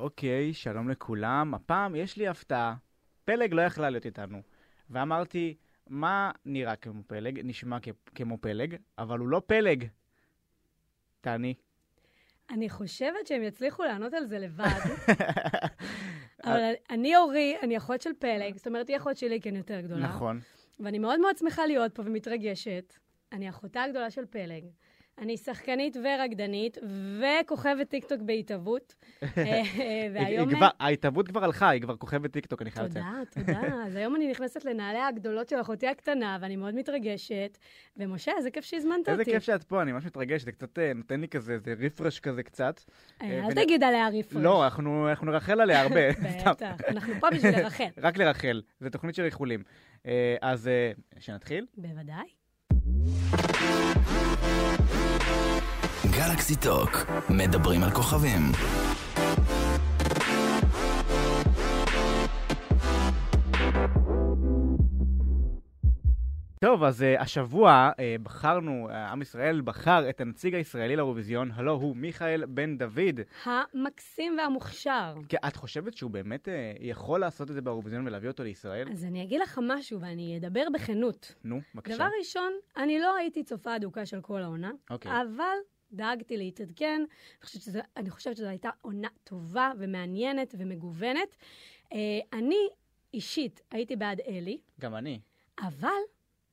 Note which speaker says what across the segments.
Speaker 1: אוקיי, שלום לכולם. הפעם יש לי הפתעה. פלג לא יכלה להיות איתנו. ואמרתי, מה נראה כמו פלג? נשמע כ- כמו פלג, אבל הוא לא פלג. תעני.
Speaker 2: אני חושבת שהם יצליחו לענות על זה לבד, אבל אני אורי, אני אחות של פלג, זאת אומרת, היא אחות שלי כי אני יותר גדולה.
Speaker 1: נכון.
Speaker 2: ואני מאוד מאוד שמחה להיות פה ומתרגשת. אני אחותה הגדולה של פלג. אני שחקנית ורקדנית וכוכבת טיקטוק בהתהוות. אה,
Speaker 1: היא-
Speaker 2: והיום... אה,
Speaker 1: היא כבר- ההתהוות כבר הלכה, היא כבר כוכבת טיקטוק, אני חייב לציין.
Speaker 2: תודה, תודה. אז היום אני נכנסת לנעליה הגדולות של אחותי הקטנה, ואני מאוד מתרגשת. ומשה, איזה כיף שהזמנת
Speaker 1: איזה
Speaker 2: אותי.
Speaker 1: כיף שאת פה, אני ממש מתרגש, זה קצת אה, נותן לי כזה, זה רפרש כזה קצת.
Speaker 2: אה,
Speaker 1: ונ-
Speaker 2: אל תגיד עליה ריפוי.
Speaker 1: לא, אנחנו אנחנו נרחל עליה הרבה. סתם.
Speaker 2: בטח, אנחנו פה בשביל לרחל.
Speaker 1: רק לרחל, זו תוכנית של איחולים. אה, אז אה, שנתחיל?
Speaker 2: בוודאי.
Speaker 3: גלקסי טוק, מדברים על כוכבים.
Speaker 1: טוב, אז uh, השבוע uh, בחרנו, uh, עם ישראל בחר את הנציג הישראלי לאירוויזיון, הלו הוא מיכאל בן דוד.
Speaker 2: המקסים והמוכשר.
Speaker 1: כי את חושבת שהוא באמת uh, יכול לעשות את זה באירוויזיון ולהביא אותו לישראל?
Speaker 2: אז אני אגיד לך משהו, ואני אדבר בכנות.
Speaker 1: נו, בבקשה.
Speaker 2: דבר ראשון, אני לא הייתי צופה אדוקה של כל העונה,
Speaker 1: אוקיי.
Speaker 2: אבל דאגתי להתעדכן. אני חושבת שזו- אני חושבת שזו הייתה עונה טובה ומעניינת ומגוונת. אה, אני אישית הייתי בעד אלי,
Speaker 1: גם אני.
Speaker 2: אבל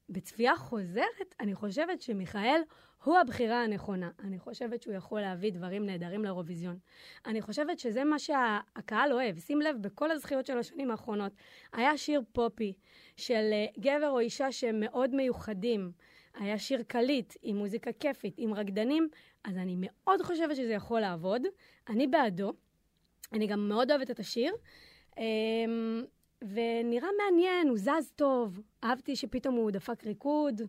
Speaker 2: בצפייה חוזרת, אני חושבת שמיכאל הוא הבחירה הנכונה. אני חושבת שהוא יכול להביא דברים נהדרים לאירוויזיון. אני חושבת שזה מה שהקהל אוהב. שים לב, בכל הזכיות של השנים האחרונות, היה שיר פופי של אה, גבר או אישה שהם מאוד מיוחדים. היה שיר קליט, עם מוזיקה כיפית, עם רקדנים, אז אני מאוד חושבת שזה יכול לעבוד. אני בעדו. אני גם מאוד אוהבת את השיר. אמ, ונראה מעניין, הוא זז טוב. אהבתי שפתאום הוא דפק ריקוד,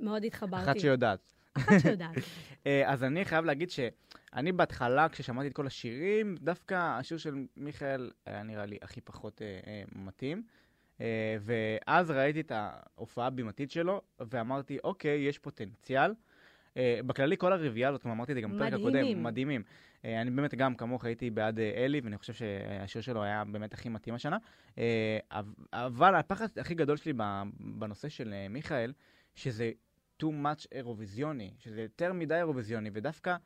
Speaker 2: מאוד התחברתי.
Speaker 1: אחת שיודעת.
Speaker 2: אחת שיודעת.
Speaker 1: אה, אז אני חייב להגיד שאני בהתחלה, כששמעתי את כל השירים, דווקא השיר של מיכאל היה נראה לי הכי פחות אה, אה, מתאים. אה, ואז ראיתי את ההופעה הבימתית שלו, ואמרתי, אוקיי, יש פוטנציאל. אה, בכללי, כל הרביעייה הזאת, אמרתי את זה גם בפרק הקודם,
Speaker 2: מדהימים.
Speaker 1: מדהימים. אה, אני באמת גם כמוך הייתי בעד אה, אלי, ואני חושב שהשיר שלו היה באמת הכי מתאים השנה. אה, אב- אבל הפחד הכי גדול שלי ב- בנושא של אה, מיכאל, שזה too much אירוויזיוני, שזה יותר מדי אירוויזיוני, ודווקא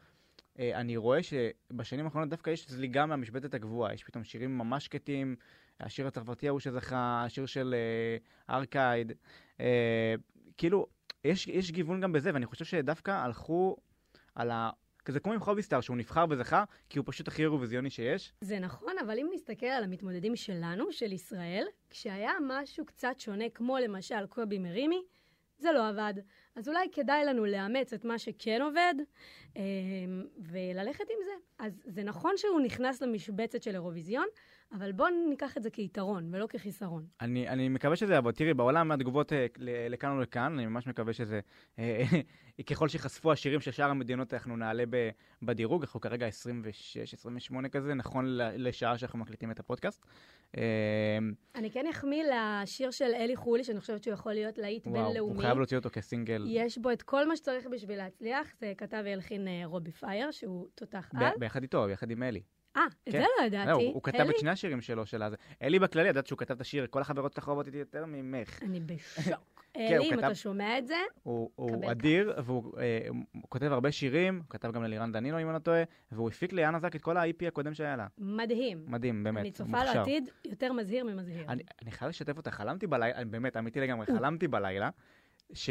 Speaker 1: אה, אני רואה שבשנים האחרונות דווקא יש זליגה מהמשבצת הקבועה, יש פתאום שירים ממש קטים, השיר הצרפתי ההוא שזכה, השיר של אה, ארקייד, אה, כאילו, יש, יש גיוון גם בזה, ואני חושב שדווקא הלכו על ה... כזה כמו עם חוביסטאר, שהוא נבחר וזכה, כי הוא פשוט הכי אירוויזיוני שיש.
Speaker 2: זה נכון, אבל אם נסתכל על המתמודדים שלנו, של ישראל, כשהיה משהו קצת שונה, כמו למשל קובי מרימי, זה לא עבד. אז אולי כדאי לנו לאמץ את מה שכן עובד, אמ, וללכת עם זה. אז זה נכון שהוא נכנס למשבצת של אירוויזיון, אבל בואו ניקח את זה כיתרון ולא כחיסרון.
Speaker 1: אני, אני מקווה שזה יעבוד. תראי, בעולם התגובות אה, ל- לכאן או לכאן, אני ממש מקווה שזה... אה, ככל שחשפו השירים של שאר המדינות, אנחנו נעלה ב, בדירוג. אנחנו כרגע 26-28 כזה, נכון ל- לשעה שאנחנו מקליטים את הפודקאסט. אה,
Speaker 2: אני כן אחמיא לשיר של אלי חולי, שאני חושבת שהוא יכול להיות להיט
Speaker 1: וואו,
Speaker 2: בינלאומי.
Speaker 1: הוא חייב להוציא אותו כסינגל
Speaker 2: יש בו את כל מה שצריך בשביל להצליח. זה כתב והלחין אה, רובי פייר, שהוא תותח על.
Speaker 1: ב- ביחד איתו, ביחד עם אלי.
Speaker 2: אה, את
Speaker 1: כן.
Speaker 2: זה לא
Speaker 1: לא,
Speaker 2: ידעתי.
Speaker 1: הוא, הוא כתב
Speaker 2: אלי?
Speaker 1: את שני השירים שלו של הזה. אלי בכללי, ידעת שהוא כתב את השיר, כל החברות שלך אוהבות אותי יותר ממך.
Speaker 2: אני בשוק.
Speaker 1: כן, הוא
Speaker 2: אלי, אם
Speaker 1: כתב-
Speaker 2: אתה שומע את זה,
Speaker 1: הוא,
Speaker 2: קבל
Speaker 1: הוא
Speaker 2: כך.
Speaker 1: אדיר, והוא אה, הוא כותב הרבה שירים, הוא כתב גם ללירן דנינו, אם אני לא טועה, והוא הפיק ליאנה זק את כל ה-IP הקודם שהיה לה.
Speaker 2: מדהים.
Speaker 1: מדהים, באמת.
Speaker 2: אני
Speaker 1: הוא
Speaker 2: צופה
Speaker 1: מוכשר.
Speaker 2: לו עתיד יותר מזהיר ממזהיר.
Speaker 1: אני, אני חייב לשתף אותך, חלמתי בלילה, אני באמת, אמיתי לגמרי, חלמתי בלילה, ש...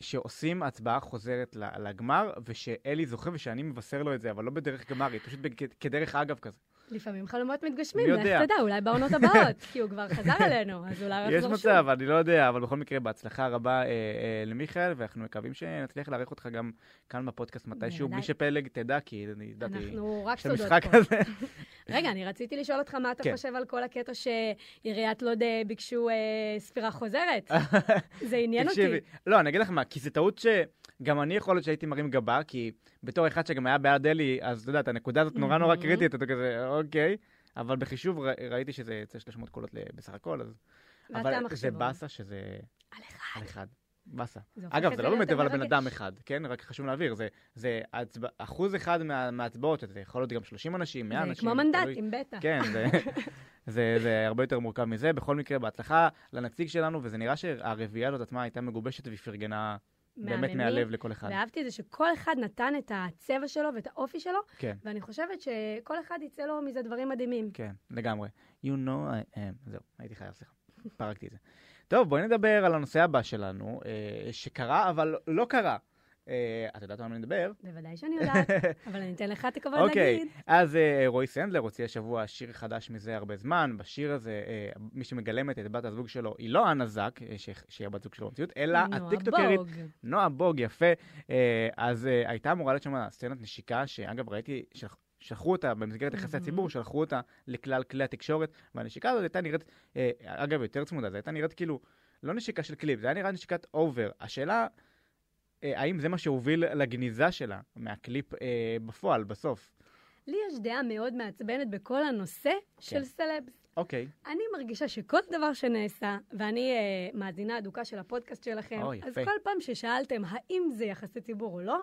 Speaker 1: שעושים הצבעה חוזרת ל- לגמר, ושאלי זוכה ושאני מבשר לו את זה, אבל לא בדרך גמרי, פשוט בכ- כדרך אגב כזה.
Speaker 2: לפעמים חלומות מתגשמים,
Speaker 1: מי
Speaker 2: לך
Speaker 1: יודע?
Speaker 2: תדע, אולי בעונות הבאות, כי הוא כבר חזר אלינו, אז אולי הוא
Speaker 1: יש
Speaker 2: יחזור
Speaker 1: מצב,
Speaker 2: שוב.
Speaker 1: אני לא יודע, אבל בכל מקרה, בהצלחה רבה אה, אה, למיכאל, ואנחנו מקווים שנצליח לארח אותך גם כאן בפודקאסט מתישהו, בלי
Speaker 2: בוודאי.
Speaker 1: שפלג תדע, כי אני ידעתי...
Speaker 2: אנחנו רק
Speaker 1: יש את
Speaker 2: סודות
Speaker 1: המשחק
Speaker 2: פה.
Speaker 1: הזה.
Speaker 2: רגע, אני רציתי לשאול אותך מה אתה
Speaker 1: כן.
Speaker 2: חושב על כל הקטע שעיריית לוד אה, ביקשו אה, ספירה חוזרת. זה עניין אותי.
Speaker 1: תקשיבי, לא, אני אגיד לך מה, כי זו טעות שגם אני יכול להיות שהייתי מרים גבה, כי בתור אחד שגם היה בעד אלי, אז אתה יודע, את הנקודה הזאת נורא נורא
Speaker 2: Mhm.
Speaker 1: קריטית, אתה כזה, אוקיי, אבל בחישוב ר- ראיתי שזה יצא 300 קולות ל- בסך הכל, אז...
Speaker 2: ואתה
Speaker 1: אבל זה
Speaker 2: המחשבון.
Speaker 1: באסה שזה
Speaker 2: על אחד.
Speaker 1: על אחד. באסה.
Speaker 2: הופך
Speaker 1: אגב,
Speaker 2: את
Speaker 1: זה לא
Speaker 2: להיות
Speaker 1: באמת אבל
Speaker 2: יותר
Speaker 1: בן
Speaker 2: מרגש.
Speaker 1: אדם אחד, כן? רק חשוב להבהיר, זה, זה הצבע, אחוז אחד מה, מההצבעות, זה יכול להיות גם 30 אנשים, 100
Speaker 2: זה
Speaker 1: אנשים.
Speaker 2: כמו
Speaker 1: תלוי.
Speaker 2: מנדטים, בטח.
Speaker 1: כן, זה, זה, זה הרבה יותר מורכב מזה. בכל מקרה, בהצלחה לנציג שלנו, וזה נראה שהרביעייה הזאת עצמה הייתה מגובשת ופרגנה באמת
Speaker 2: מהממים.
Speaker 1: מהלב לכל אחד.
Speaker 2: ואהבתי את זה שכל אחד נתן את הצבע שלו ואת האופי שלו,
Speaker 1: כן.
Speaker 2: ואני חושבת שכל אחד יצא לו מזה דברים מדהימים.
Speaker 1: כן, לגמרי. You know I am. זהו, הייתי חייב, סליחה. פרקתי את זה. טוב, בואי נדבר על הנושא הבא שלנו, אה, שקרה, אבל לא קרה. אה, את יודעת על מה אני מדבר?
Speaker 2: בוודאי שאני יודעת, אבל אני אתן לך את הכבוד
Speaker 1: אוקיי,
Speaker 2: להגיד.
Speaker 1: אז אה, רוי סנדלר הוציא השבוע שיר חדש מזה הרבה זמן. בשיר הזה, אה, מי שמגלמת את בת הזוג שלו היא לא אנה זק, אה, ש- שהיא הבת זוג שלו במציאות, אלא
Speaker 2: נועה
Speaker 1: הטיקטוקרית
Speaker 2: בוג.
Speaker 1: נועה בוג, יפה. אה, אז אה, הייתה אמורה להיות שם סצנת נשיקה, שאגב, ראיתי, שלח- שלחו אותה במסגרת יחסי
Speaker 2: מהמם.
Speaker 1: הציבור, שלחו אותה לכלל כלי התקשורת, והנשיקה הזאת הייתה נראית, אה, אגב, יותר צמודה, זו הייתה נראית כאילו, לא נשיקה של קליפ, זה היה נראה נשיקת אובר. השאלה, אה, האם זה מה שהוביל לגניזה שלה מהקליפ אה, בפועל, בסוף?
Speaker 2: לי יש דעה מאוד מעצבנת בכל הנושא
Speaker 1: כן.
Speaker 2: של סלבס.
Speaker 1: אוקיי.
Speaker 2: אני מרגישה שכל דבר שנעשה, ואני אה, מאזינה אדוקה של הפודקאסט שלכם,
Speaker 1: אוי,
Speaker 2: אז
Speaker 1: יפה.
Speaker 2: כל פעם ששאלתם האם זה יחסי ציבור או לא,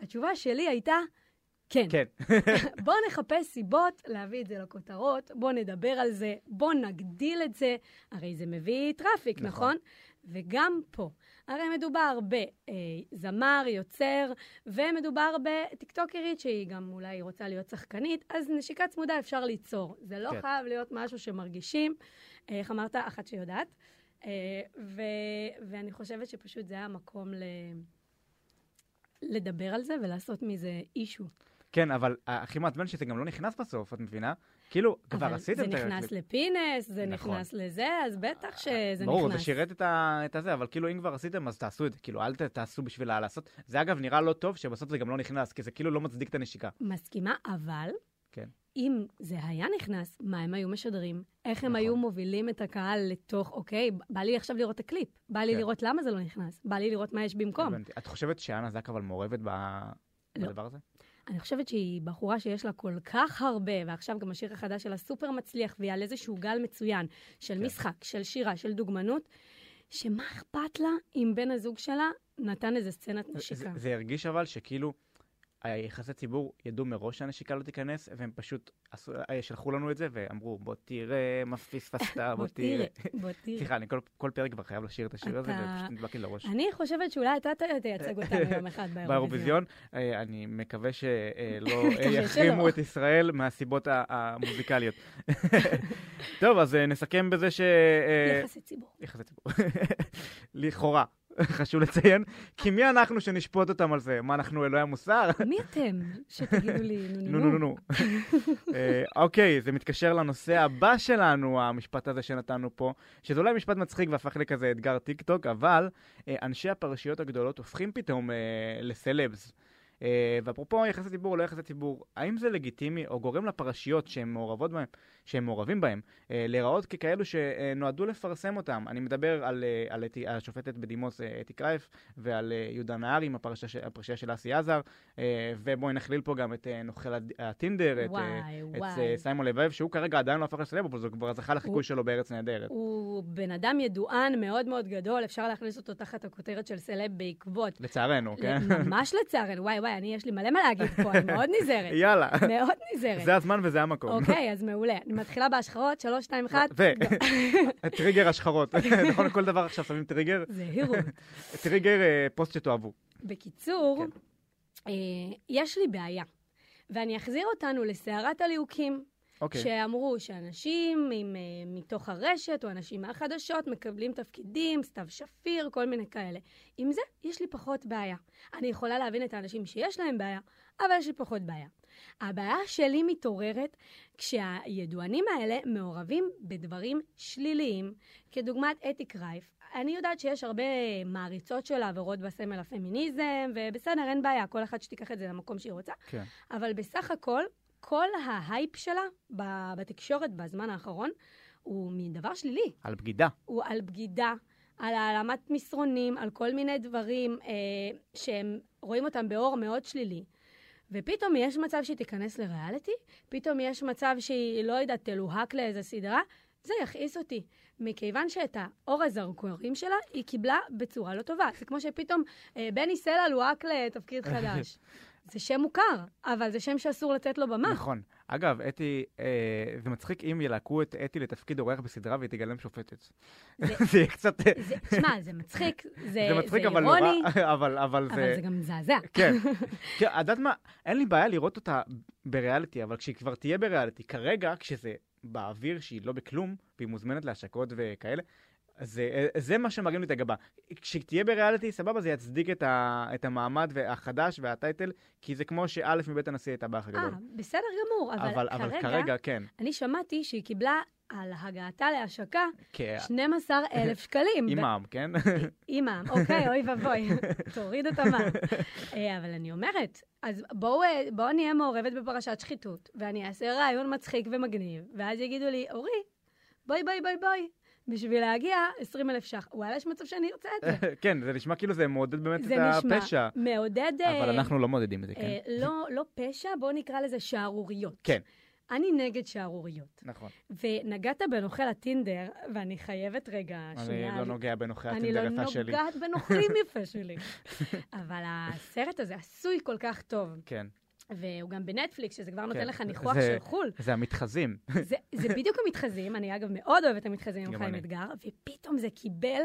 Speaker 2: התשובה שלי הייתה כן.
Speaker 1: כן.
Speaker 2: בואו נחפש סיבות להביא את זה לכותרות, בואו נדבר על זה, בואו נגדיל את זה, הרי זה מביא טראפיק, נכון?
Speaker 1: נכון.
Speaker 2: נכון? וגם פה, הרי מדובר בזמר, יוצר, ומדובר בטיקטוקרית שהיא גם אולי רוצה להיות שחקנית, אז נשיקה צמודה אפשר ליצור. זה לא
Speaker 1: כן.
Speaker 2: כן. חייב להיות משהו שמרגישים. אה, איך אמרת? אחת שיודעת. אה, ו... ואני חושבת שפשוט זה היה מקום ל... לדבר על זה ולעשות מזה אישו.
Speaker 1: כן, אבל אה, הכי מעצבן שזה גם לא נכנס בסוף, את מבינה? כאילו, כבר
Speaker 2: אבל
Speaker 1: עשיתם את
Speaker 2: זה נכנס לפינס, זה
Speaker 1: נכון. אה,
Speaker 2: נכנס לזה, אז בטח שזה נכנס.
Speaker 1: ברור, זה שירת את, ה... את הזה, אבל כאילו אם כבר עשיתם, אז תעשו את זה. כאילו, אל ת... תעשו בשביל ה- לעשות. זה אגב נראה לא טוב שבסוף זה גם לא נכנס, כי זה כאילו לא מצדיק את הנשיקה.
Speaker 2: מסכימה, אבל...
Speaker 1: כן.
Speaker 2: אם זה היה נכנס, מה הם היו משדרים? איך הם
Speaker 1: נכון.
Speaker 2: היו מובילים את הקהל לתוך, אוקיי, בא לי עכשיו לראות את הקליפ, בא לי
Speaker 1: כן.
Speaker 2: לראות למה זה לא נכנס, בא לי לראות מה יש במקום.
Speaker 1: הבנתי. את חושבת שאנה זק אבל מעורבת ב...
Speaker 2: לא.
Speaker 1: בדבר הזה?
Speaker 2: אני חושבת שהיא בחורה שיש לה כל כך הרבה, ועכשיו גם השיר החדש שלה סופר מצליח, והיא על איזשהו גל מצוין של
Speaker 1: כן.
Speaker 2: משחק, של שירה, של דוגמנות, שמה אכפת לה אם בן הזוג שלה נתן איזה סצנת
Speaker 1: זה,
Speaker 2: נשיקה?
Speaker 1: זה הרגיש אבל שכאילו היחסי ציבור ידעו מראש שהנשיקה לא תיכנס, והם פשוט עשו... אה, שלחו לנו את זה ואמרו, בוא תראה מה פספסת, בוא תראה.
Speaker 2: בוא תראה.
Speaker 1: סליחה, אני כל, כל פרק כבר חייב לשיר את השיר הזה,
Speaker 2: אתה-
Speaker 1: ופשוט נדבק לי לראש.
Speaker 2: אני חושבת שאולי אתה ת- תייצג אותנו יום אחד באירוויזיון.
Speaker 1: באירוויזיון. אה, אני מקווה שלא אה, לא
Speaker 2: מקווה
Speaker 1: יחרימו
Speaker 2: שלא.
Speaker 1: את ישראל מהסיבות ה- המוזיקליות. טוב, אז אה, נסכם בזה ש... אה,
Speaker 2: יחסי ציבור.
Speaker 1: יחסי ציבור. לכאורה, חשוב לציין, כי מי אנחנו שנשפוט אותם על זה? מה, אנחנו אלוהי המוסר?
Speaker 2: מי אתם שתגידו לי נו
Speaker 1: נו, נו, נו, נו. אה, אוקיי, זה מתקשר לנושא הבא שלנו, המשפט הזה שנתנו פה, שזה אולי משפט מצחיק והפך לכזה אתגר טיקטוק, אבל אה, אנשי הפרשיות הגדולות הופכים פתאום אה, לסלבס. אה, ואפרופו יחסי ציבור או לא יחסי ציבור, האם זה לגיטימי או גורם לפרשיות שהן מעורבות בהן, שהם מעורבים בהן, אה, להיראות ככאלו שנועדו לפרסם אותם? אני מדבר על, אה, על אתי- השופטת בדימוס אה, אתי קרייף ועל אה, יהודה נהרי עם הפרשה ש- הפרשייה של אסי עזר, אה, ובואי נכליל פה גם את אה, נוכל הד- הטינדר, את, אה,
Speaker 2: וואי,
Speaker 1: את אה,
Speaker 2: וואי.
Speaker 1: סיימון לבב, שהוא כרגע עדיין לא הפך לסלב, אבל הוא כבר זכה לחיקוי
Speaker 2: הוא-
Speaker 1: שלו בארץ נהדרת.
Speaker 2: הוא בן אדם ידוען מאוד מאוד גדול, אפשר להכניס אותו תחת הכותרת של סלב בעקבות.
Speaker 1: לצערנו, כן?
Speaker 2: ממש לצערנו, וואי וואי, אני יש לי מלא מה להגיד פה, אני מאוד נזהרת.
Speaker 1: יאללה,
Speaker 2: מאוד נזהרת.
Speaker 1: זה הזמן וזה המקום.
Speaker 2: אוקיי, אז מעולה. אני מתחילה בהשחרות, שלוש, שתיים, אחת.
Speaker 1: ו... טריגר השחרות. נכון, כל דבר עכשיו שמים טריגר.
Speaker 2: זהירות.
Speaker 1: טריגר אה, פוסט שתאהבו.
Speaker 2: בקיצור,
Speaker 1: כן.
Speaker 2: אה, יש לי בעיה, ואני אחזיר אותנו לסערת הליהוקים.
Speaker 1: אוקיי.
Speaker 2: שאמרו שאנשים עם, אה, מתוך הרשת או אנשים מהחדשות מקבלים תפקידים, סתיו שפיר, כל מיני כאלה. עם זה יש לי פחות בעיה. אני יכולה להבין את האנשים שיש להם בעיה, אבל יש לי פחות בעיה. הבעיה שלי מתעוררת כשהידוענים האלה מעורבים בדברים שליליים, כדוגמת אתי קרייף. אני יודעת שיש הרבה מעריצות שלה ורואות בסמל הפמיניזם, ובסדר, אין בעיה, כל אחת שתיקח את זה למקום שהיא רוצה.
Speaker 1: כן.
Speaker 2: אבל בסך הכל, כל ההייפ שלה ב- בתקשורת בזמן האחרון הוא מדבר שלילי.
Speaker 1: על בגידה.
Speaker 2: הוא על בגידה, על העלמת מסרונים, על כל מיני דברים אה, שהם רואים אותם באור מאוד שלילי. ופתאום יש מצב שהיא תיכנס לריאליטי, פתאום יש מצב שהיא, לא יודעת, תלוהק לאיזו סדרה. זה יכעיס אותי, מכיוון שאת האור הזרקורים שלה היא קיבלה בצורה לא טובה. זה כמו שפתאום אה, בני סלע לוהק לתפקיד חדש. זה שם מוכר, אבל זה שם שאסור לתת לו במה.
Speaker 1: נכון. אגב, אתי, אה, זה מצחיק אם ילהקו את אתי לתפקיד אורח בסדרה והיא תגלם שופטת.
Speaker 2: זה-
Speaker 1: זה יהיה קצת...
Speaker 2: זה- שמע, זה מצחיק, זה
Speaker 1: זה מצחיק,
Speaker 2: זה
Speaker 1: אבל נורא...
Speaker 2: אירוני,
Speaker 1: אבל, אבל
Speaker 2: אבל זה גם מזעזע.
Speaker 1: כן. כן, את יודעת מה? אין לי בעיה לראות אותה בריאליטי, אבל כשהיא כבר תהיה בריאליטי, כרגע, כשזה באוויר, שהיא לא בכלום, והיא מוזמנת להשקות וכאלה, זה, זה מה שמרים לי את הגבה. כשהיא תהיה בריאליטי, סבבה, זה יצדיק את, ה, את המעמד והחדש והטייטל, כי זה כמו שא' מבית הנשיא הייתה באח
Speaker 2: אה,
Speaker 1: הגדול.
Speaker 2: בסדר גמור, אה, אבל
Speaker 1: אבל
Speaker 2: כרגע,
Speaker 1: כרגע, כן.
Speaker 2: אני שמעתי שהיא קיבלה על הגעתה להשקה
Speaker 1: כן.
Speaker 2: 12,000 שקלים.
Speaker 1: עם העם, כן?
Speaker 2: אימא, אוקיי, אוי ואבוי, תוריד את המע"מ. אה, אבל אני אומרת, אז בואו אה, בואו נהיה מעורבת בפרשת שחיתות, ואני אעשה רעיון מצחיק ומגניב, ואז יגידו לי, אורי, בואי, בואי, בואי, בואי, בשביל להגיע 20,000 ש"ח. וואלה, יש מצב שאני ארצה את זה.
Speaker 1: כן, זה נשמע כאילו זה מעודד באמת
Speaker 2: זה
Speaker 1: את
Speaker 2: נשמע
Speaker 1: הפשע.
Speaker 2: מעודד... אה,
Speaker 1: אבל אנחנו לא מעודדים את זה, כן?
Speaker 2: אה, לא- לא פשע, בואו נקרא לזה שערוריות.
Speaker 1: כן.
Speaker 2: אני נגד שערוריות.
Speaker 1: נכון.
Speaker 2: ונגעת בנוכל הטינדר, ואני חייבת רגע
Speaker 1: אני
Speaker 2: שנייה...
Speaker 1: לא נוגע בנוכחי
Speaker 2: אני
Speaker 1: הטינדר
Speaker 2: לא
Speaker 1: יפה שלי.
Speaker 2: נוגעת בנוכלים יפה שלי. אבל הסרט הזה עשוי כל כך טוב,
Speaker 1: כן.
Speaker 2: והוא גם בנטפליקס, שזה כבר נותן
Speaker 1: כן.
Speaker 2: לך ניחוח
Speaker 1: זה-
Speaker 2: של חו"ל.
Speaker 1: זה המתחזים.
Speaker 2: זה- זה בדיוק המתחזים, אני אגב מאוד אוהבת את המתחזים עם
Speaker 1: גם
Speaker 2: חיים
Speaker 1: אני.
Speaker 2: אתגר, ופתאום זה קיבל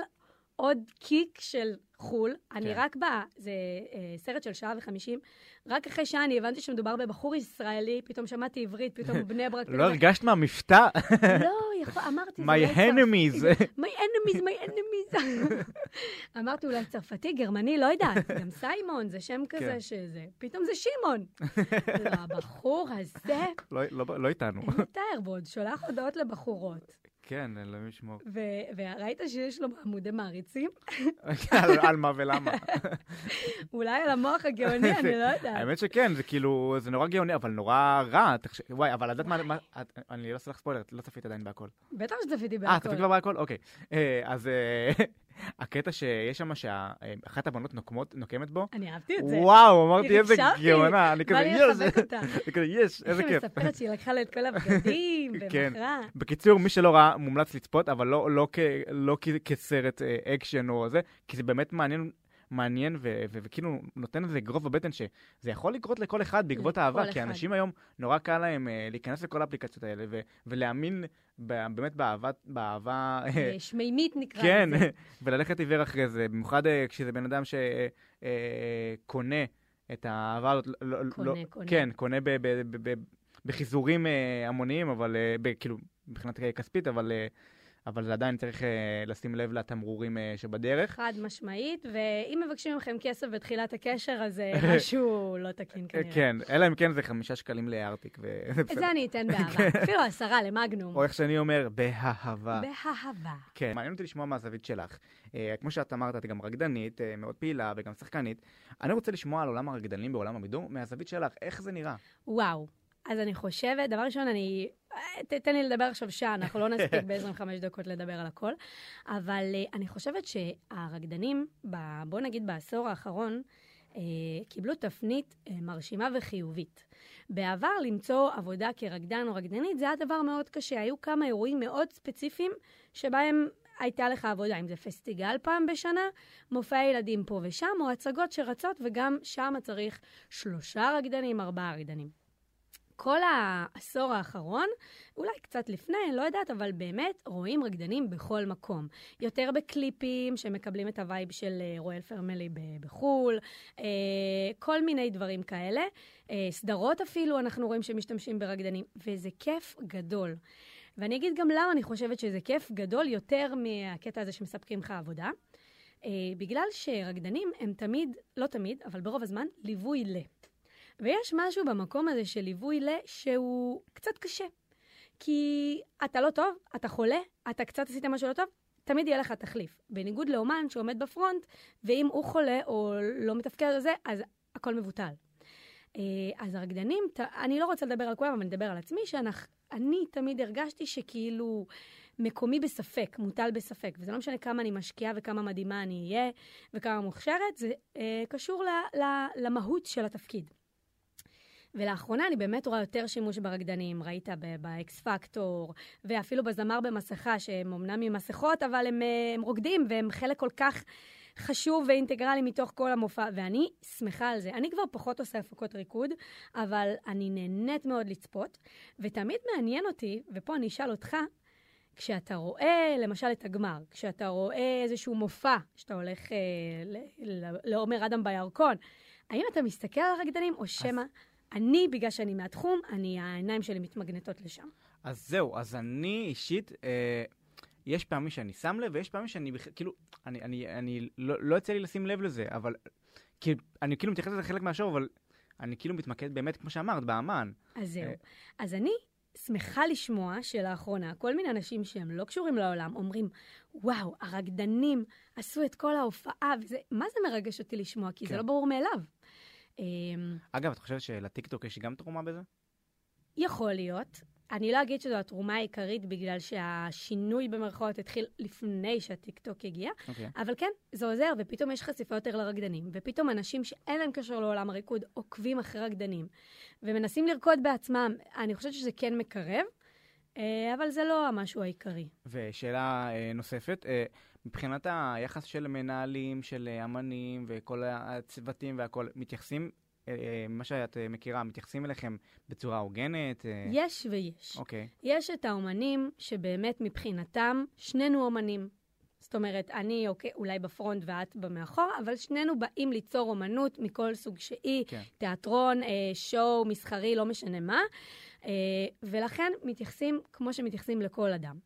Speaker 2: עוד קיק של חו"ל. אני
Speaker 1: כן.
Speaker 2: רק ב... זה אה, סרט של שעה וחמישים. רק אחרי שעה אני הבנתי שמדובר בבחור ישראלי, פתאום שמעתי עברית, פתאום הוא בני ברק.
Speaker 1: לא
Speaker 2: פתאום-
Speaker 1: הרגשת מהמבטא?
Speaker 2: לא, יכול- אמרתי, זה אולי
Speaker 1: My
Speaker 2: צרפתי.
Speaker 1: enemies.
Speaker 2: my enemies, my enemies. אמרתי אולי צרפתי, גרמני, לא יודעת. גם סיימון זה שם כזה
Speaker 1: כן.
Speaker 2: שזה. פתאום זה שמעון. לא, הבחור הזה,
Speaker 1: לא- לא לא איתנו.
Speaker 2: אין לתאר בו, עוד שולח הודעות לבחורות.
Speaker 1: כן, אלוהים ישמור.
Speaker 2: ו- וראית שיש לו עמודי מעריצים?
Speaker 1: על- על מה ולמה.
Speaker 2: אולי על המוח הגאוני, אני לא יודעת.
Speaker 1: האמת שכן, זה כאילו, זה נורא גאוני, אבל נורא רע. תחש- וואי, אבל את יודעת מה- מה... את- אני לא אעשה לך ספוילר, את לא צפית עדיין בהכל.
Speaker 2: בטח שצפיתי
Speaker 1: אה, צפית
Speaker 2: בהכל.
Speaker 1: כבר בהכל? אוקיי. אה, אז אה, הקטע שיש שם, שאחת הבנות נוקמות- נוקמת בו,
Speaker 2: אני אהבתי את זה.
Speaker 1: וואו, אמרתי איזה
Speaker 2: הקשבתי.
Speaker 1: גאונה, אני
Speaker 2: בא
Speaker 1: כזה
Speaker 2: לי
Speaker 1: יש,
Speaker 2: לחבק אותה.
Speaker 1: אני כזה יש,
Speaker 2: איך
Speaker 1: איזה
Speaker 2: היא
Speaker 1: כיף.
Speaker 2: מספרת שהיא לקחה לה את כל הבגדים,
Speaker 1: כן.
Speaker 2: ובחרה.
Speaker 1: בקיצור, מי שלא ראה, מומלץ לצפות, אבל לא, לא, כ, לא כ, כסרט אה, אקשן או זה, כי זה באמת מעניין, מעניין ו, ו, וכאילו נותן איזה אגרוף בבטן שזה יכול לקרות לכל אחד בעקבות
Speaker 2: לכל
Speaker 1: אהבה,
Speaker 2: אחד.
Speaker 1: כי האנשים היום, נורא קל להם אה, להיכנס לכל האפליקציות האלה ו, ולהאמין ב, באמת באהבה, באהבה אה,
Speaker 2: אה, שמימית נקרא
Speaker 1: כן,
Speaker 2: לזה.
Speaker 1: וללכת עיוור אחרי זה, במיוחד אה, כשזה בן אדם שקונה את האהבה הזאת. לא- לא-
Speaker 2: קונה,
Speaker 1: לא-
Speaker 2: קונה.
Speaker 1: כן, קונה ב- ב- ב- ב- בחיזורים אה, המוניים, אבל אה, ב- כאילו, מבחינת כספית, אבל... אה, אבל זה עדיין צריך אה, לשים לב לתמרורים אה, שבדרך.
Speaker 2: חד משמעית, ואם מבקשים מכם כסף בתחילת הקשר, אז אה, משהו לא תקין
Speaker 1: אה,
Speaker 2: כנראה.
Speaker 1: כן, אלא אם כן זה חמישה שקלים לארטיק, וזה
Speaker 2: את
Speaker 1: בסדר.
Speaker 2: זה אני אתן באהבה, אפילו עשרה למגנום.
Speaker 1: או איך שאני אומר, באהבה.
Speaker 2: באהבה.
Speaker 1: כן, מעניין אותי לשמוע מהזווית שלך. אה, כמו שאת אמרת, את גם רקדנית, אה, מאוד פעילה וגם שחקנית. אני רוצה לשמוע על עולם הרקדנים בעולם הבידור מהזווית שלך, איך זה נראה.
Speaker 2: וואו. אז אני חושבת, דבר ראשון, אני... אה, ת- תן לי לדבר עכשיו שעה, אנחנו לא נספיק ב-25 דקות לדבר על הכל. אבל אה, אני חושבת שהרקדנים, ב- בוא נגיד בעשור האחרון, אה, קיבלו תפנית אה, מרשימה וחיובית. בעבר למצוא עבודה כרקדן או רקדנית זה היה דבר מאוד קשה. היו כמה אירועים מאוד ספציפיים שבהם הייתה לך עבודה, אם זה פסטיגל פעם בשנה, מופעי ילדים פה ושם, או הצגות שרצות, וגם שם צריך שלושה רקדנים, ארבעה רקדנים. כל העשור האחרון, אולי קצת לפני, אני לא יודעת, אבל באמת רואים רקדנים בכל מקום. יותר בקליפים שמקבלים את הווייב של אה, רואל פרמלי ב- בחו"ל, אה, כל מיני דברים כאלה. אה, סדרות אפילו, אנחנו רואים שמשתמשים ברקדנים, וזה כיף גדול. ואני אגיד גם למה אני חושבת שזה כיף גדול יותר מהקטע הזה שמספקים לך עבודה. אה, בגלל שרקדנים הם תמיד, לא תמיד, אבל ברוב הזמן, ליווי ל. ויש משהו במקום הזה של ליווי ל שהוא קצת קשה. כי אתה לא טוב, אתה חולה, אתה קצת עשית משהו לא טוב, תמיד יהיה לך תחליף. בניגוד לאומן שעומד בפרונט, ואם הוא חולה או לא מתפקד על זה, אז הכל מבוטל. אה, אז הרקדנים, ת- אני לא רוצה לדבר על כולם, אבל אני אדבר על עצמי, שאני תמיד הרגשתי שכאילו מקומי בספק, מוטל בספק. וזה לא משנה כמה אני משקיעה וכמה מדהימה אני אהיה וכמה מוכשרת, זה אה, קשור ל, ל, למהות של התפקיד. ולאחרונה אני באמת רואה יותר שימוש ברקדנים, ראית באקס פקטור, ואפילו בזמר במסכה, שהם אמנם עם מסכות, אבל הם, אה, הם רוקדים, והם חלק כל כך חשוב ואינטגרלי מתוך כל המופע, ואני שמחה על זה. אני כבר פחות עושה הפקות ריקוד, אבל אני נהנית מאוד לצפות, ותמיד מעניין אותי, ופה אני אשאל אותך, כשאתה רואה, למשל, את הגמר, כשאתה רואה איזשהו מופע, כשאתה הולך אה, ל- ל- לעומר אדם בירקון, האם אתה מסתכל על הרקדנים, או שמא אני, בגלל שאני מהתחום, אני, העיניים שלי מתמגנטות לשם?
Speaker 1: אז זהו, אז אני אישית, אה, יש פעמים שאני שם לב, ויש פעמים שאני, בכ- כאילו, אני, אני, אני לא, לא יצא לי לשים לב לזה, אבל, כאילו, אני כאילו מתייחס לזה חלק מהשואו, אבל אני כאילו מתמקד באמת, כמו שאמרת, באמן.
Speaker 2: אז זהו.
Speaker 1: אה.
Speaker 2: אז אני שמחה לשמוע שלאחרונה כל מיני אנשים שהם לא קשורים לעולם אומרים, וואו, הרקדנים עשו את כל ההופעה, וזה, מה זה מרגש אותי לשמוע? כי זה
Speaker 1: כן.
Speaker 2: לא ברור מאליו. אמ,
Speaker 1: אגב, את חושבת שלטיקטוק יש גם תרומה בזה?
Speaker 2: יכול להיות. אני לא אגיד שזו התרומה העיקרית בגלל שהשינוי במרכאות התחיל לפני שהטיקטוק הגיע,
Speaker 1: אוקיי.
Speaker 2: אבל כן, זה עוזר, ופתאום יש חשיפה יותר לרקדנים, ופתאום אנשים שאין להם קשר לעולם הריקוד עוקבים אחרי רקדנים, ומנסים לרקוד בעצמם. אני חושבת שזה כן מקרב, אה, אבל זה לא המשהו העיקרי.
Speaker 1: ושאלה אה, נוספת, אה, מבחינת היחס של מנהלים, של אה, אמנים וכל הצוותים והכול, מתייחסים, אה, אה, מה שאת אה, מכירה, מתייחסים אליכם בצורה הוגנת? אה,
Speaker 2: יש ויש.
Speaker 1: אוקיי.
Speaker 2: יש את האומנים שבאמת מבחינתם, שנינו אומנים. זאת אומרת, אני אוקיי, אולי בפרונט ואת במאחור, אבל שנינו באים ליצור אומנות מכל סוג שהיא,
Speaker 1: כן.
Speaker 2: תיאטרון, אה, שואו, מסחרי, לא משנה מה, אה, ולכן מתייחסים כמו שמתייחסים לכל אדם.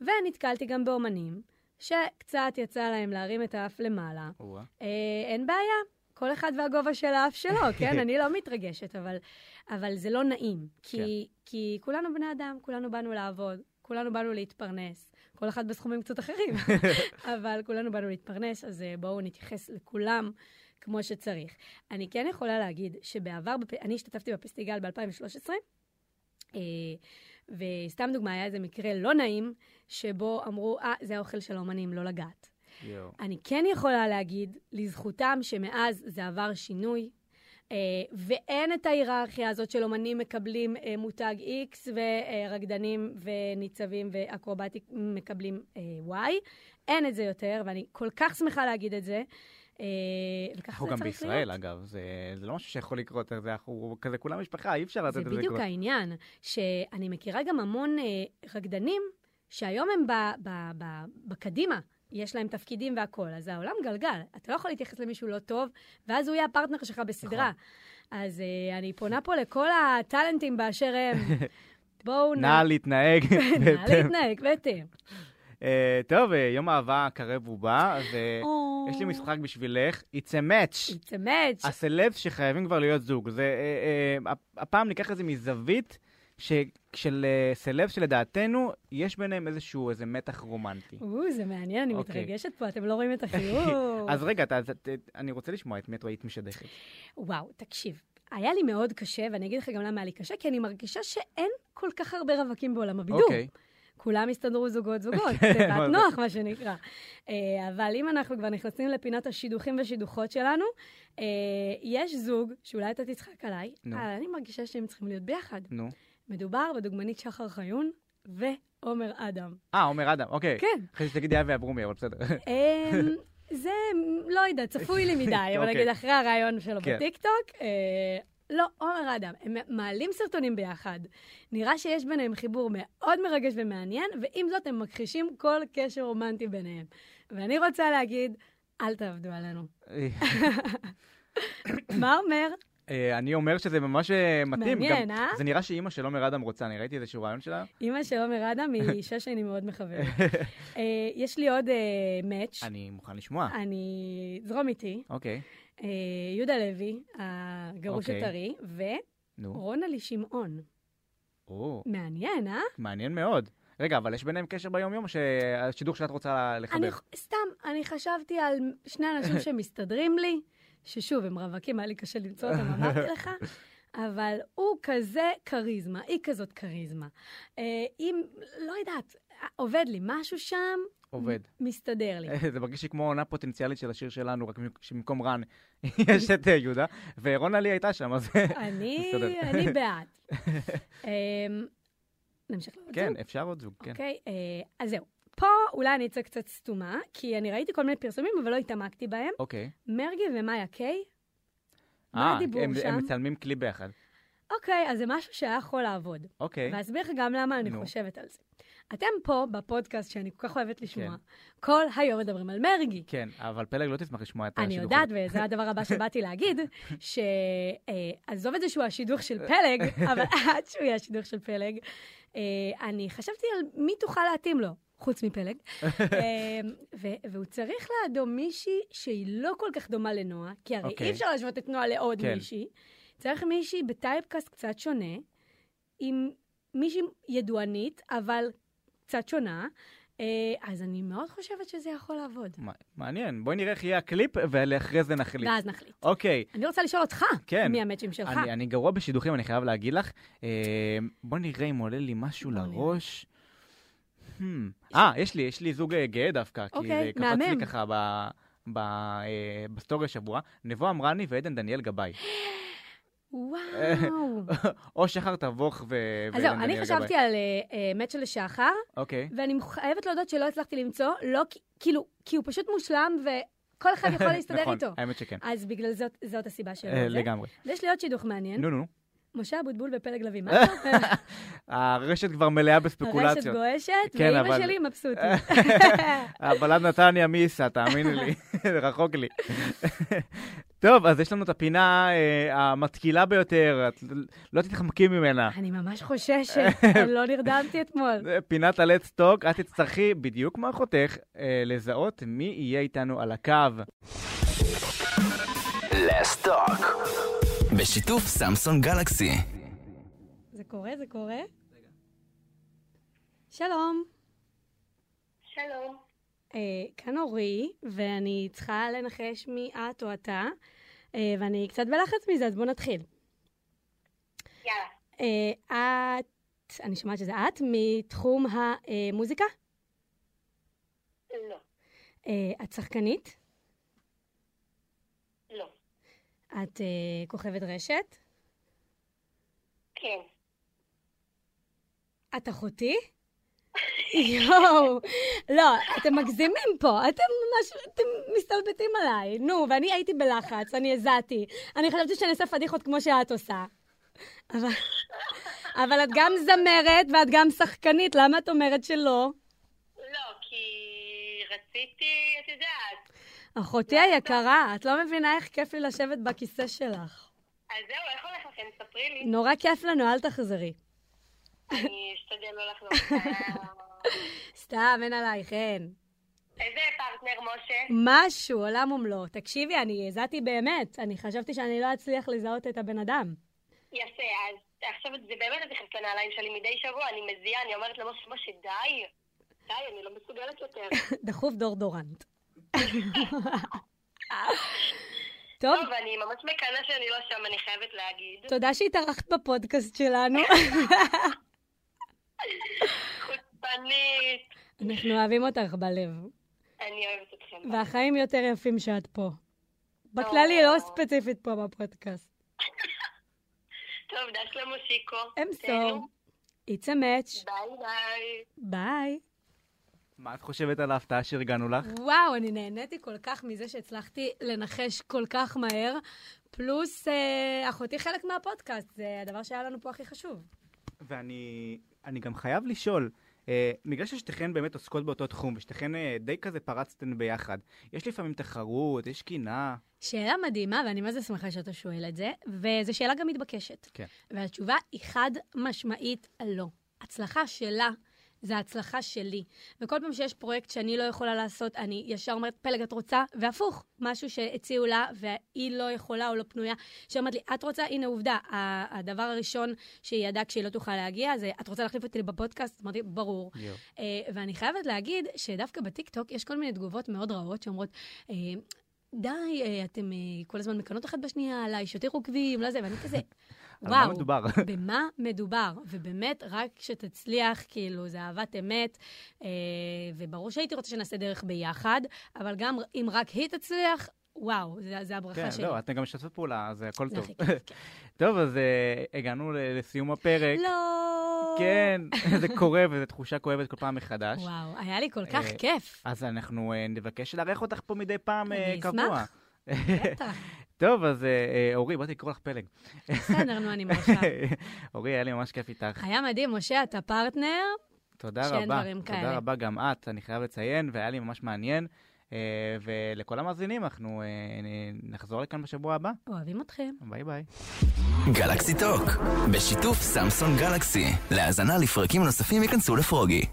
Speaker 2: ונתקלתי גם באומנים שקצת יצא להם להרים את האף למעלה,
Speaker 1: או-אה.
Speaker 2: אה, אין בעיה, כל אחד והגובה של האף שלו, כן? אני לא מתרגשת, אבל, אבל זה לא נעים. כי, כן. כי כולנו בני אדם, כולנו באנו לעבוד, כולנו באנו להתפרנס, כל אחד בסכומים קצת אחרים, אבל כולנו באנו להתפרנס, אז אה, בואו נתייחס לכולם כמו שצריך. אני כן יכולה להגיד שבעבר, בפ... אני השתתפתי בפסטיגל ב-2013, אה, וסתם דוגמה, היה איזה מקרה לא נעים, שבו אמרו, אה, זה האוכל של האומנים, לא לגעת.
Speaker 1: יואו.
Speaker 2: אני כן יכולה להגיד לזכותם שמאז זה עבר שינוי. אה, ואין את ההיררכיה הזאת של אומנים מקבלים אה, מותג X ורקדנים וניצבים ואקרובטיק מקבלים אה, Y. אין את זה יותר, ואני כל כך שמחה להגיד את זה. אה, וככה
Speaker 1: אנחנו
Speaker 2: זה
Speaker 1: גם
Speaker 2: צריך
Speaker 1: בישראל,
Speaker 2: להיות.
Speaker 1: אגב, זה זה לא משהו שיכול לקרות, זה אנחנו כזה כולם משפחה, אי אפשר לתת
Speaker 2: זה
Speaker 1: את זה
Speaker 2: בדיוק
Speaker 1: לקרות.
Speaker 2: העניין, שאני מכירה גם המון אה, רקדנים שהיום הם ב, ב, ב, בקדימה. יש להם תפקידים והכול, אז העולם גלגל. אתה לא יכול להתייחס למישהו לא טוב, ואז הוא יהיה הפרטנר שלך בסדרה.
Speaker 1: נכון.
Speaker 2: אז אה, אני פונה פה לכל הטאלנטים באשר הם. בואו נ...
Speaker 1: נא להתנהג.
Speaker 2: נא
Speaker 1: בהתאם.
Speaker 2: להתנהג, בהתאם.
Speaker 1: אה, טוב, אה, יום האהבה הקרב הוא בא, ויש אה, לי
Speaker 2: או.
Speaker 1: משחק בשבילך, It's a match.
Speaker 2: It's a match.
Speaker 1: הסלבס שחייבים כבר להיות זוג. זה, אה, אה, הפ- הפעם ניקח את זה מזווית ש, של אה, סלבס שלדעתנו יש ביניהם איזשהו איזה מתח רומנטי.
Speaker 2: או, זה מעניין, אני
Speaker 1: אוקיי.
Speaker 2: מתרגשת פה, אתם לא רואים את החיוך.
Speaker 1: אז רגע, אתה, אתה, אתה- אני רוצה לשמוע את מי את היית משדכת.
Speaker 2: וואו, תקשיב. היה לי מאוד קשה, ואני אגיד לך גם למה היה לי קשה, כי אני מרגישה שאין כל כך הרבה רווקים בעולם הבידור.
Speaker 1: אוקיי.
Speaker 2: כולם הסתדרו זוגות-זוגות,
Speaker 1: כן, מה
Speaker 2: תיבת
Speaker 1: זה?
Speaker 2: נוח, מה שנקרא. אה, אבל אם אנחנו כבר נכנסים לפינת השידוכים ושידוכות שלנו, אה, יש זוג, שאולי אתה תצחק עליי,
Speaker 1: נו.
Speaker 2: אבל אני מרגישה שהם צריכים להיות ביחד.
Speaker 1: נו.
Speaker 2: מדובר בדוגמנית שחר חיון ועומר אדם.
Speaker 1: אה, עומר אדם, אוקיי.
Speaker 2: כן.
Speaker 1: אחרי שתגידי אבי אברומי, אבל בסדר.
Speaker 2: אמ, זה, לא יודעת, צפוי לי מדי, אבל
Speaker 1: אוקיי.
Speaker 2: נגיד אחרי הרעיון שלו
Speaker 1: כן.
Speaker 2: בטיקטוק, אה, לא, עומר אדם, הם מעלים סרטונים ביחד. נראה שיש ביניהם חיבור מאוד מרגש ומעניין, ועם זאת הם מכחישים כל קשר רומנטי ביניהם. ואני רוצה להגיד, אל תעבדו עלינו. מה אומר?
Speaker 1: אה, אני אומר שזה ממש אה, מתאים.
Speaker 2: מעניין,
Speaker 1: גם-
Speaker 2: אה?
Speaker 1: זה נראה שאימא של עומר אדם רוצה, אני ראיתי איזשהו רעיון שלה.
Speaker 2: אימא של עומר אדם היא אישה שאני מאוד מחברת. אה, יש לי עוד אה, מאץ'.
Speaker 1: אני מוכן לשמוע.
Speaker 2: אה. אני... זרום איתי.
Speaker 1: אוקיי.
Speaker 2: אה, יהודה לוי, הגרוש
Speaker 1: אוקיי.
Speaker 2: הטרי, ו...
Speaker 1: נו.
Speaker 2: רונלי שמעון.
Speaker 1: או,
Speaker 2: מעניין, אה?
Speaker 1: מעניין מאוד. רגע, אבל יש ביניהם קשר ביום-יום, או שהשידוך שאת רוצה לחבר?
Speaker 2: אני, ח- סתם, אני חשבתי על שני אנשים שמסתדרים לי, ששוב, הם רווקים, היה לי קשה למצוא אותם, אמרתי לך. אבל הוא כזה כריזמה, היא כזאת כריזמה. אה, אם, לא יודעת, עובד לי, משהו שם
Speaker 1: עובד.
Speaker 2: מסתדר לי.
Speaker 1: זה מרגיש לי כמו עונה פוטנציאלית של השיר שלנו, רק שבמקום רן יש את אה, יהודה, ורונה לי הייתה שם, אז
Speaker 2: אוקיי. אני,
Speaker 1: מסתדר.
Speaker 2: אני בעד. אמ, נמשיך לעוד
Speaker 1: כן,
Speaker 2: זוג?
Speaker 1: אפשר עוד זוג, כן.
Speaker 2: אוקיי, אה, אז זהו. פה אולי אני אצא קצת סתומה, כי אני ראיתי כל מיני פרסומים, אבל לא התעמקתי בהם.
Speaker 1: אוקיי.
Speaker 2: מרגי ומאיה קיי, מה
Speaker 1: אה,
Speaker 2: הדיבור
Speaker 1: הם-
Speaker 2: שם?
Speaker 1: הם מצלמים כלי ביחד.
Speaker 2: אוקיי, אז זה משהו שהיה יכול לעבוד.
Speaker 1: אוקיי.
Speaker 2: ואסביר לך גם למה אני
Speaker 1: נו.
Speaker 2: חושבת על זה. אתם פה, בפודקאסט שאני כל כך אוהבת לשמוע, כל היום מדברים על מרגי.
Speaker 1: כן, אבל פלג לא תשמח לשמוע את
Speaker 2: אני
Speaker 1: השידוך.
Speaker 2: יודעת, וזה הדבר הבא שבאתי להגיד, שעזוב את זה שהוא השידוך של פלג, אבל עד שהוא יהיה השידוך של פלג, אה, אני חשבתי על מי תוכל להתאים לו, חוץ מפלג. אה, ו- והוא צריך לידו מישהי שהיא לא כל כך דומה לנועה, כי הרי
Speaker 1: אוקיי.
Speaker 2: אי אפשר להשוות את נועה לעוד
Speaker 1: כן.
Speaker 2: מישהי. צריך מישהי בטייפקאסט קצת שונה, עם מישהי ידוענית, אבל קצת שונה. אה, אז אני מאוד חושבת שזה יכול לעבוד.
Speaker 1: מה- מעניין, בואי נראה איך יהיה הקליפ, ואחרי זה נחליט.
Speaker 2: ואז נחליט.
Speaker 1: אוקיי,
Speaker 2: אני רוצה לשאול אותך,
Speaker 1: כן.
Speaker 2: מי המצ'ים שלך?
Speaker 1: אני, אני גרוע בשידוכים, אני חייב להגיד לך. אה, בוא נראה אם עולה לי משהו
Speaker 2: בוא
Speaker 1: לראש. Hmm. אה, יש לי, יש לי זוג אה, גאה דווקא, כי
Speaker 2: אוקיי,
Speaker 1: זה קפץ
Speaker 2: מהמם.
Speaker 1: לי ככה ב, ב, אה, בסטורי השבוע. נבו אמרני ועדן דניאל גבאי.
Speaker 2: וואו.
Speaker 1: או שחר תבוך ו...
Speaker 2: אז זהו,
Speaker 1: ועדן
Speaker 2: אני
Speaker 1: דניאל
Speaker 2: חשבתי
Speaker 1: גבאי.
Speaker 2: על אה, אה, מאץ' של שחר,
Speaker 1: אוקיי,
Speaker 2: ואני חייבת להודות שלא הצלחתי למצוא, לא כי- כאילו, כי הוא פשוט מושלם, וכל אחד יכול להסתדר
Speaker 1: נכון,
Speaker 2: איתו. כאילו,
Speaker 1: האמת שכן.
Speaker 2: אז בגלל זאת, זאת הסיבה שלו.
Speaker 1: אה, לגמרי.
Speaker 2: יש לי עוד שידוך מעניין.
Speaker 1: נו, נו, נו.
Speaker 2: משה אבוטבול ופלג לביא, מה אתה?
Speaker 1: הרשת כבר מלאה
Speaker 2: הרשת
Speaker 1: בספקולציות.
Speaker 2: גועשת,
Speaker 1: כן,
Speaker 2: ואימא
Speaker 1: אבל-
Speaker 2: שלי מבסוטית.
Speaker 1: הבלד נתניה מי ייסע, תאמיני לי, רחוק לי. טוב, אז יש לנו את הפינה אה, המתקילה ביותר, את לא תתחמקי ממנה.
Speaker 2: אני ממש חוששת, אני לא נרדמתי אתמול.
Speaker 1: זה פינת הלט סטוק, את תצטרכי, בדיוק כמו אחותך, אה, לזהות מי יהיה איתנו על הקו.
Speaker 3: לסטוק. בשיתוף סמסון גלקסי.
Speaker 2: זה קורה, זה קורה. שלום.
Speaker 4: שלום,
Speaker 2: אה, כאן אורי, ואני צריכה לנחש מי את או אתה, אה, ואני קצת בלחץ מזה, אז בואו נתחיל.
Speaker 4: יאללה,
Speaker 2: אה, את, אני שומעת שזה את, מתחום המוזיקה.
Speaker 4: לא,
Speaker 2: אה, את שחקנית,
Speaker 4: לא,
Speaker 2: את אה, כוכבת רשת,
Speaker 4: כן,
Speaker 2: את אחותי. יואו, לא, אתם מגזימים פה, אתם ממש, אתם מסתלבטים עליי. נו, ואני הייתי בלחץ, אני הזעתי. אני חשבתי שאני אעשה פדיחות כמו שאת עושה. אבל, אבל את גם זמרת ואת גם שחקנית, למה את אומרת שלא?
Speaker 4: לא, כי רציתי, את יודעת,
Speaker 2: אחותי היקרה, את לא מבינה איך כיף לי לשבת בכיסא שלך.
Speaker 4: אז זהו, איך הולך לכם? ספרי לי.
Speaker 2: נורא כיף לנו, אל תחזרי.
Speaker 4: אני אשתדל לא לחזור. אה,
Speaker 2: סתם, אין עלייך, אין.
Speaker 4: איזה פרטנר, משה?
Speaker 2: משהו, עולם ומלואו. תקשיבי, אני הזעתי באמת. אני חשבתי שאני לא אצליח לזהות את הבן אדם.
Speaker 4: יפה, אז עכשיו זה באמת את נכנסת לנעליים שלי מדי שבוע, אני מזיעה, אני אומרת למשה, משה, די, די, אני לא מסוגלת יותר.
Speaker 2: דחוף דורדורנט. טוב,
Speaker 4: טוב, אני ממש מקנאה שאני לא שם, אני חייבת להגיד.
Speaker 2: תודה שהתארחת בפודקאסט שלנו.
Speaker 4: חוצפנית,
Speaker 2: אנחנו אוהבים אותך בלב,
Speaker 4: אני אוהבת אתכם.
Speaker 2: והחיים יותר יפים שאת פה. בכללי, לא ספציפית פה בפודקאסט.
Speaker 4: טוב, דש למושיקו.
Speaker 2: אמסור.
Speaker 4: תהנו.
Speaker 2: It's a match.
Speaker 4: ביי ביי.
Speaker 2: ביי.
Speaker 1: מה את חושבת על ההפתעה שארגנו לך?
Speaker 2: וואו, אני נהניתי כל כך מזה שהצלחתי לנחש כל כך מהר, פלוס אה, אחותי חלק מהפודקאסט, זה הדבר שהיה לנו פה הכי חשוב.
Speaker 1: ואני אני גם חייב לשאול, אה, בגלל ששתיכן באמת עוסקות באותו תחום, ושתיכן אה, די כזה פרצתן ביחד, יש לפעמים תחרות, יש קינה.
Speaker 2: שאלה מדהימה, ואני מה זה שמחה שאתה שואל את זה, וזו שאלה גם מתבקשת.
Speaker 1: כן.
Speaker 2: והתשובה היא חד משמעית לא. הצלחה שלה זה ההצלחה שלי. וכל פעם שיש פרויקט שאני לא יכולה לעשות, אני ישר אומרת, פלג, את רוצה? והפוך, משהו שהציעו לה והיא לא יכולה או לא פנויה, שאומרת לי, את רוצה? הנה עובדה. ה- הדבר הראשון שהיא ידעה כשהיא לא תוכל להגיע זה, את רוצה להחליף אותי בפודקאסט? אמרתי, ברור. אה, ואני חייבת להגיד שדווקא בטיקטוק יש כל מיני תגובות מאוד רעות שאומרות, אה, די, אה, אתם אה, כל הזמן מקנות אחת בשנייה עליי, שוטי רוקבים, לא זה, ואני כזה,
Speaker 1: על מה
Speaker 2: וואו,
Speaker 1: מדובר?
Speaker 2: במה מדובר? ובאמת, רק שתצליח, כאילו, זה אהבת אמת, אה, וברור שהייתי רוצה שנעשה דרך ביחד, אבל גם אם רק היא תצליח, וואו, זה, זה הברכה
Speaker 1: כן,
Speaker 2: שלי.
Speaker 1: לא, אתם גם משתפות פעולה, אז הכל
Speaker 2: זה
Speaker 1: טוב.
Speaker 2: הכי כיף, כן.
Speaker 1: טוב, אז אה, הגענו ל- לסיום הפרק.
Speaker 2: לא!
Speaker 1: כן, זה קורה וזו תחושה כואבת כל פעם מחדש.
Speaker 2: וואו, היה לי כל כך
Speaker 1: אה,
Speaker 2: כיף.
Speaker 1: אז אנחנו אה, נבקש לארח אותך פה מדי פעם
Speaker 2: אני
Speaker 1: אה,
Speaker 2: אשמח.
Speaker 1: קבוע. אה,
Speaker 2: בטח.
Speaker 1: טוב, אז אה, אה, אורי, באתי לקרוא לך פלג.
Speaker 2: בסדר, נו, אני מרשה.
Speaker 1: אורי, היה לי ממש כיף איתך.
Speaker 2: היה מדהים, משה, אתה פרטנר.
Speaker 1: תודה
Speaker 2: אה, שאין
Speaker 1: רבה.
Speaker 2: דברים
Speaker 1: תודה
Speaker 2: כאלה.
Speaker 1: רבה גם את, אני חייב לציין, והיה לי ממש מעניין. אה, ולכל המאזינים, אנחנו אה, נ- נחזור לכאן בשבוע הבא.
Speaker 2: אוהבים אתכם.
Speaker 1: ביי ביי.
Speaker 3: גלקסי טוק, בשיתוף סמסון גלקסי. להאזנה לפרקים נוספים ייכנסו לפרוגי.